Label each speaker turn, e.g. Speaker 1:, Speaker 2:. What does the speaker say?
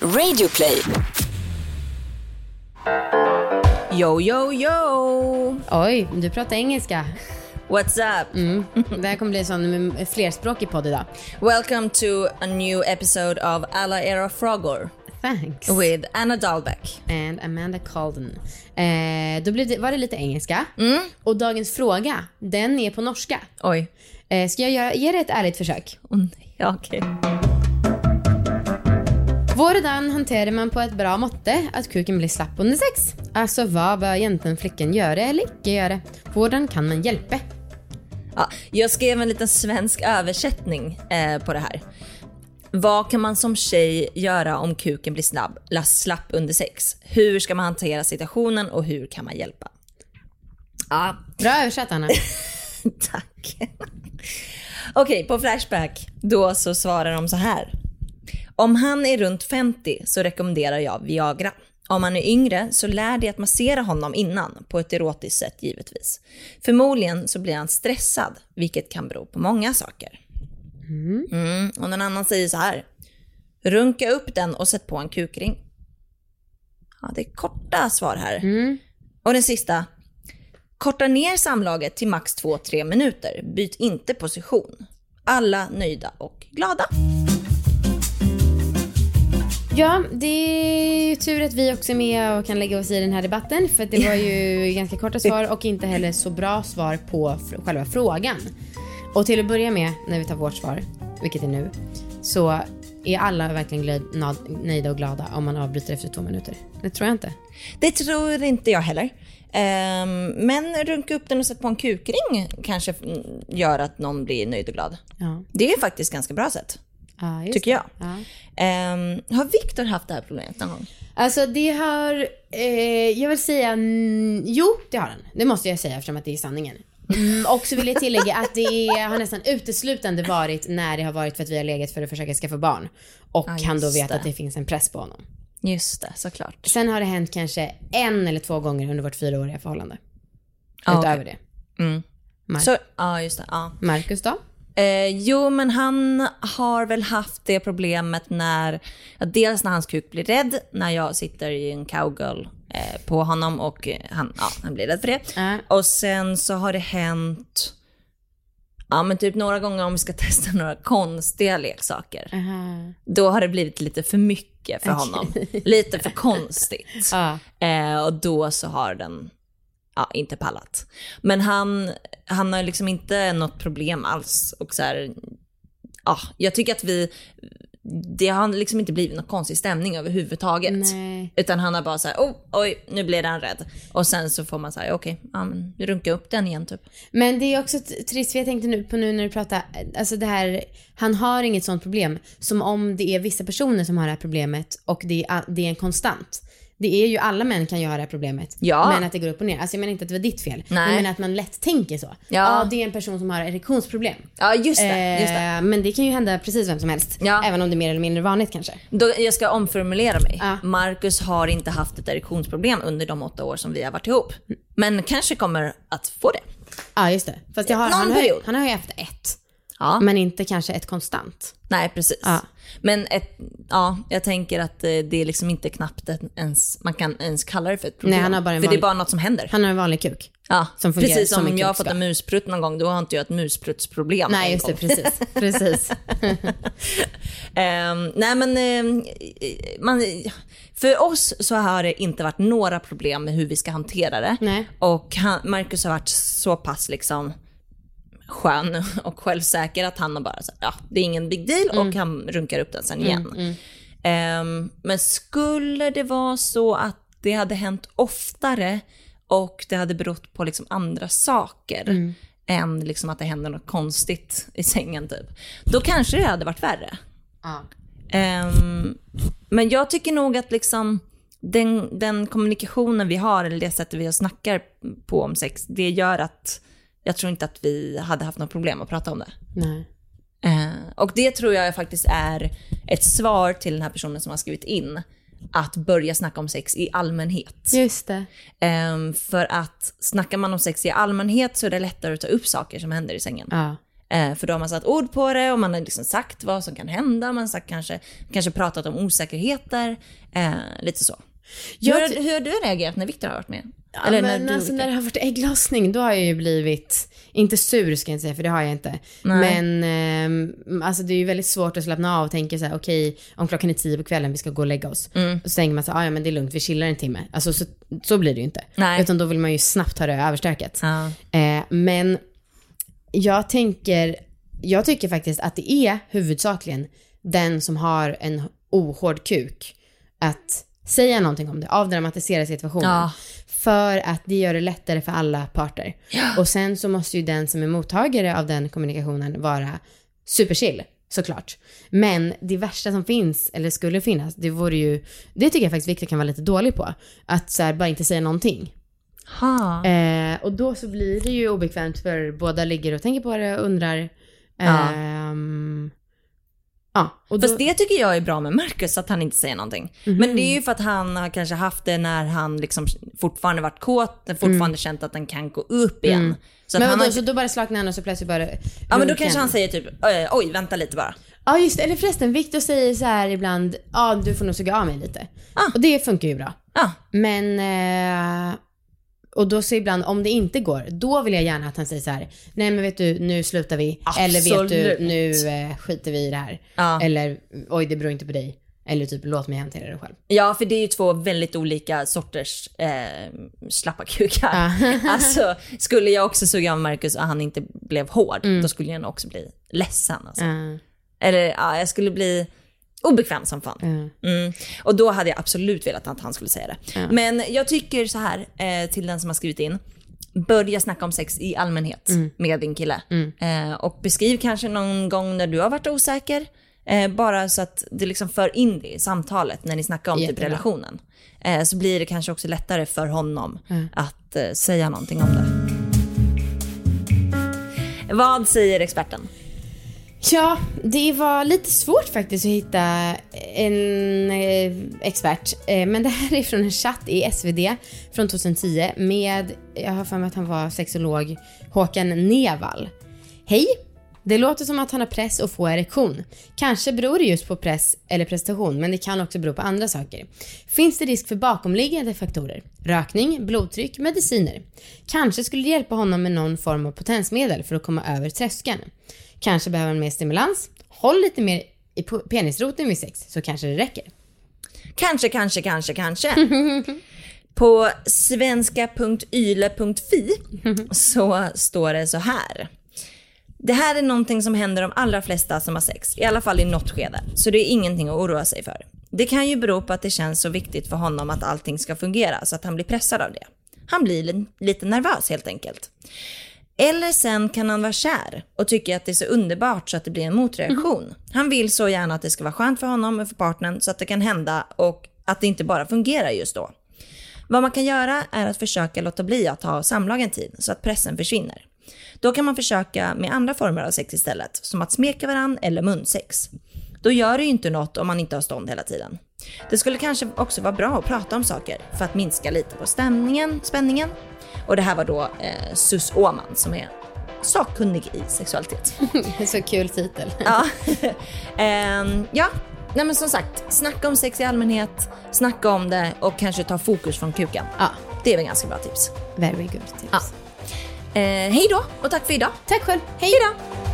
Speaker 1: Radioplay.
Speaker 2: Yo, yo, yo!
Speaker 3: Oj, du pratar engelska.
Speaker 2: What's up?
Speaker 3: Det här kommer bli en sån flerspråkig podd idag.
Speaker 2: Welcome to a new episode of Alla era frågor
Speaker 3: Thanks.
Speaker 2: with Anna Dahlbeck.
Speaker 3: And Amanda Calden. Eh, då blev det, var det lite engelska. Och dagens fråga, den är på norska.
Speaker 2: Oj.
Speaker 3: Eh, ska jag göra, ge dig ett ärligt försök?
Speaker 2: Åh, nej. Ja, okej.
Speaker 3: Hvordan hanterar man på ett bra måtte att kuken blir slapp under sex? Alltså vad bör egentligen flickan göra eller inte göra? Hvordan kan man hjälpa?
Speaker 2: Ja, jag skrev en liten svensk översättning eh, på det här. Vad kan man som tjej göra om kuken blir snabb, la- slapp under sex? Hur ska man hantera situationen och hur kan man hjälpa? Ja,
Speaker 3: Bra översatt Anna.
Speaker 2: Tack. Okej, på Flashback då så svarar de så här. Om han är runt 50 så rekommenderar jag Viagra. Om han är yngre så lär dig att massera honom innan, på ett erotiskt sätt givetvis. Förmodligen så blir han stressad, vilket kan bero på många saker. Mm, och någon annan säger så här. Runka upp den och sätt på en kukring. Ja, det är korta svar här. Och den sista. Korta ner samlaget till max 2-3 minuter. Byt inte position. Alla nöjda och glada.
Speaker 3: Ja, det är ju tur att vi också är med och kan lägga oss i den här debatten för att det var ju ganska korta svar och inte heller så bra svar på fr- själva frågan. Och till att börja med, när vi tar vårt svar, vilket är nu, så är alla verkligen glöd, nad- nöjda och glada om man avbryter efter två minuter. Det tror jag inte.
Speaker 2: Det tror inte jag heller. Ehm, men runka upp den och sätt på en kukring kanske mm, gör att någon blir nöjd och glad.
Speaker 3: Ja,
Speaker 2: Det är faktiskt ganska bra sätt,
Speaker 3: ja just
Speaker 2: tycker jag.
Speaker 3: det. Ja.
Speaker 2: Ehm, har Viktor haft det här problemet någon gång?
Speaker 3: Alltså det har, eh, jag vill säga, mm, jo det har han. Det måste jag säga eftersom att det är sanningen. Mm, och så vill jag tillägga att det är, har nästan uteslutande varit när det har varit för att vi har legat för att försöka skaffa barn. Och
Speaker 2: Ja,
Speaker 3: han då
Speaker 2: just
Speaker 3: vet
Speaker 2: det.
Speaker 3: att det finns en press på honom.
Speaker 2: Just det, såklart.
Speaker 3: Sen har det hänt kanske en eller två gånger under vårt fyraåriga förhållande.
Speaker 2: Ja,
Speaker 3: Utöver det.
Speaker 2: Mm.
Speaker 3: Mar-
Speaker 2: Så, ja, just det. Ja.
Speaker 3: Marcus då?
Speaker 2: Eh, jo, men han har väl haft det problemet när, ja, dels när hans kuk blir rädd, när jag sitter i en cowgirl eh, på honom och eh, han, ja, han blir rädd för det.
Speaker 3: Ja.
Speaker 2: Och sen så har det hänt, ja men typ några gånger om vi ska testa några konstiga leksaker.
Speaker 3: Aha.
Speaker 2: Då har det blivit lite för mycket för honom. Lite för konstigt.
Speaker 3: Ja.
Speaker 2: Eh, och då så har den ja, inte pallat. Men han, han har liksom inte något problem alls. Och så här, ja, jag tycker att vi, det har liksom inte blivit någon konstig stämning överhuvudtaget.
Speaker 3: Nej.
Speaker 2: Utan han har bara så här, oh, oj, nu blev han rädd. Och sen så får man säga, okej, ja, men runka upp den igen typ.
Speaker 3: Men det är också t- trist, för jag tänkte nu på nu när du pratar, alltså det här, han har inget sånt problem som om det är vissa personer som har det här problemet och det är, a- det är en konstant. Det är ju alla män kan ju ha det här problemet.
Speaker 2: Ja.
Speaker 3: Men att det går upp och ner. Alltså jag menar inte att det var ditt fel.
Speaker 2: Nej.
Speaker 3: Jag menar att man lätt tänker så.
Speaker 2: Ja.
Speaker 3: det är en person som har erektionsproblem.
Speaker 2: Ja, just det. Just det.
Speaker 3: Eh, men det kan ju hända precis vem som helst.
Speaker 2: Ja.
Speaker 3: Även om det är mer eller mindre vanligt kanske.
Speaker 2: Då, jag ska omformulera mig.
Speaker 3: Ja.
Speaker 2: Marcus har inte haft ett erektionsproblem under de åtta år som vi har varit ihop. Men kanske kommer att få det.
Speaker 3: Ja, just det. Fast jag har,
Speaker 2: Någon
Speaker 3: han, har, ju-
Speaker 2: period.
Speaker 3: han har ju haft ett.
Speaker 2: Ja.
Speaker 3: Men inte kanske ett konstant.
Speaker 2: Nej, precis.
Speaker 3: Ja.
Speaker 2: Men ett, ja, jag tänker att eh, det är liksom inte knappt en- ens, man kan ens kalla det för ett problem.
Speaker 3: Nej, han har bara en
Speaker 2: för det är
Speaker 3: vanlig-
Speaker 2: bara något som händer.
Speaker 3: Han har en vanlig kuk.
Speaker 2: ja,
Speaker 3: som fungerar
Speaker 2: precis som,
Speaker 3: som en
Speaker 2: om jag har fått
Speaker 3: krokskott.
Speaker 2: en musprutt någon gång, då har inte jag ett muspruttsproblem. en
Speaker 3: Nej, just det.
Speaker 2: gång.
Speaker 3: Precis. precis.
Speaker 2: Ehm, nej, men ehm, man, för oss så har det inte varit några problem med hur vi ska hantera det.
Speaker 3: Nej.
Speaker 2: Och han, Marcus har varit så pass liksom skön och självsäker att han har bara så här, ja det är ingen big deal och han runkar upp den sen igen. Ehm, men skulle det vara så att det hade hänt oftare och det hade berott på liksom andra saker än liksom att det händer något konstigt i sängen typ, då kanske det hade varit värre.
Speaker 3: Ja.
Speaker 2: Ehm, men jag tycker nog att liksom den, den kommunikationen vi har, eller det sättet vi snackar på om sex, det gör att jag tror inte att vi hade haft något problem att prata om det.
Speaker 3: Nej.
Speaker 2: Eh, och det tror jag faktiskt är ett svar till den här personen som har skrivit in, att börja snacka om sex i allmänhet.
Speaker 3: Just det.
Speaker 2: Ehm, för att snackar man om sex i allmänhet så är det lättare att ta upp saker som händer i sängen.
Speaker 3: Ja.
Speaker 2: Eh, för då har man satt ord på det och man har liksom sagt vad som kan hända. Man har sagt kanske, kanske pratat om osäkerheter. Eh, lite så.
Speaker 3: Jag
Speaker 2: hur, har-
Speaker 3: ty-
Speaker 2: hur har du reagerat när Viktor har varit med?
Speaker 3: Ja, men
Speaker 2: du-
Speaker 3: alltså, när det har varit ägglossning då har jag ju blivit, inte sur ska jag inte säga för det har jag inte. Men ehm, alltså, det är ju väldigt svårt att slappna av och tänka så här: okej om klockan är tio på kvällen vi ska gå och lägga oss. Och så tänker man så här, "Ah, ja men det är lugnt vi chillar en timme. Alltså så, så blir det ju inte.
Speaker 2: Nej.
Speaker 3: Utan då vill man ju snabbt ha det överstökat.
Speaker 2: Ja.
Speaker 3: Eh, men jag tänker, jag tycker faktiskt att det är huvudsakligen den som har en ohård kuk att säga någonting om det, avdramatisera situationen.
Speaker 2: Ja.
Speaker 3: För att det gör det lättare för alla parter. Och sen så måste ju den som är mottagare av den kommunikationen vara superchill, såklart. Men det värsta som finns, eller skulle finnas, det vore ju, det tycker jag faktiskt Victor kan vara lite dålig på. Att så här, bara inte säga någonting.
Speaker 2: Ha.
Speaker 3: Eh, och då så blir det ju obekvämt för båda ligger och tänker på det och undrar.
Speaker 2: Ja.
Speaker 3: Ehm, ja, och då,
Speaker 2: Fast
Speaker 3: Mhm.
Speaker 2: det tycker jag är bra med Marcus, att han inte säger någonting. Men det är ju för att han har kanske haft det när han liksom fortfarande varit kåt, fortfarande känt att den kan gå upp igen. Så att
Speaker 3: Mm. men
Speaker 2: han
Speaker 3: vadå,
Speaker 2: har...
Speaker 3: så då bara slacknar han och så plötsligt bara...
Speaker 2: Ja men då kanske han säger typ, "Eh, oj vänta lite bara.
Speaker 3: Ja just det. eller förresten Victor säger så här ibland, ja du får nog suga av mig lite.
Speaker 2: Ah.
Speaker 3: Och det funkar ju bra.
Speaker 2: Ja,
Speaker 3: Men, eh, och då så ibland om det inte går, då vill jag gärna att han säger så här, nej men vet du nu slutar vi. Eller vet
Speaker 2: Absolut. Ah.
Speaker 3: du nu eh, skiter vi i det här.
Speaker 2: Ja.
Speaker 3: Eller oj det beror inte på dig. Eller typ låt mig hantera det själv.
Speaker 2: ja för det är ju två väldigt olika sorters eh, slappa kukar. alltså skulle jag också suga av Marcus och han inte blev hård, då skulle jag nog också bli ledsen. Alltså.
Speaker 3: Eh.
Speaker 2: Eller ja, jag skulle bli obekväm som fan. Mm. Och då hade jag absolut velat att han skulle säga det. Men jag tycker så här eh, till den som har skrivit in. Börja snacka om sex i allmänhet med din kille. Eh, och beskriv kanske någon gång när du har varit osäker. Eh, bara så att du liksom för in det i samtalet när ni snackar om typ
Speaker 3: Jättebra.
Speaker 2: relationen. Eh, så blir det kanske också lättare för honom att eh, säga någonting om det. Vad säger experten?
Speaker 3: Ja, det var lite svårt faktiskt att hitta en eh, expert. Eh, men det här är från en chatt i SvD från 2010 med, jag har för mig att han var sexolog, Håkan Nevall. Hej! Det låter som att han har press och få erektion. Kanske beror det just på press eller prestation, men det kan också bero på andra saker. Finns det risk för bakomliggande faktorer? Rökning, blodtryck, mediciner? Kanske skulle det hjälpa honom med någon form av potensmedel för att komma över tröskeln. Kanske behöver han mer stimulans. Håll lite mer i po- penisroten vid sex så kanske det räcker.
Speaker 2: Kanske, kanske, kanske, kanske. På svenska.yle.fi så står det så här. Det här är någonting som händer de allra flesta som har sex, i alla fall i något skede. Så det är ingenting att oroa sig för. Det kan ju bero på att det känns så viktigt för honom att allting ska fungera så att han blir pressad av det. Han blir li- lite nervös helt enkelt. Eller sen kan han vara kär och tycka att det är så underbart så att det blir en motreaktion. Han vill så gärna att det ska vara skönt för honom och för partnern så att det kan hända och att det inte bara fungerar just då. Vad man kan göra är att försöka låta bli att ha samlag en tid så att pressen försvinner. Då kan man försöka med andra former av sex istället, som att smeka varandra eller munsex. Då gör det ju inte något om man inte har stånd hela tiden. Det skulle kanske också vara bra att prata om saker för att minska lite på stämningen, spänningen. Och det här var då eh, Sus Åman som är sakkunnig i sexualitet.
Speaker 3: så kul titel.
Speaker 2: Ja. Ehm, ja. Nej men som sagt, snacka om sex i allmänhet, snacka om det och kanske ta fokus från kuken.
Speaker 3: Ja,
Speaker 2: Det är väl ganska bra tips.
Speaker 3: very good tips.
Speaker 2: Eh, hej då och tack för idag.
Speaker 3: Tack själv.
Speaker 2: Hej då!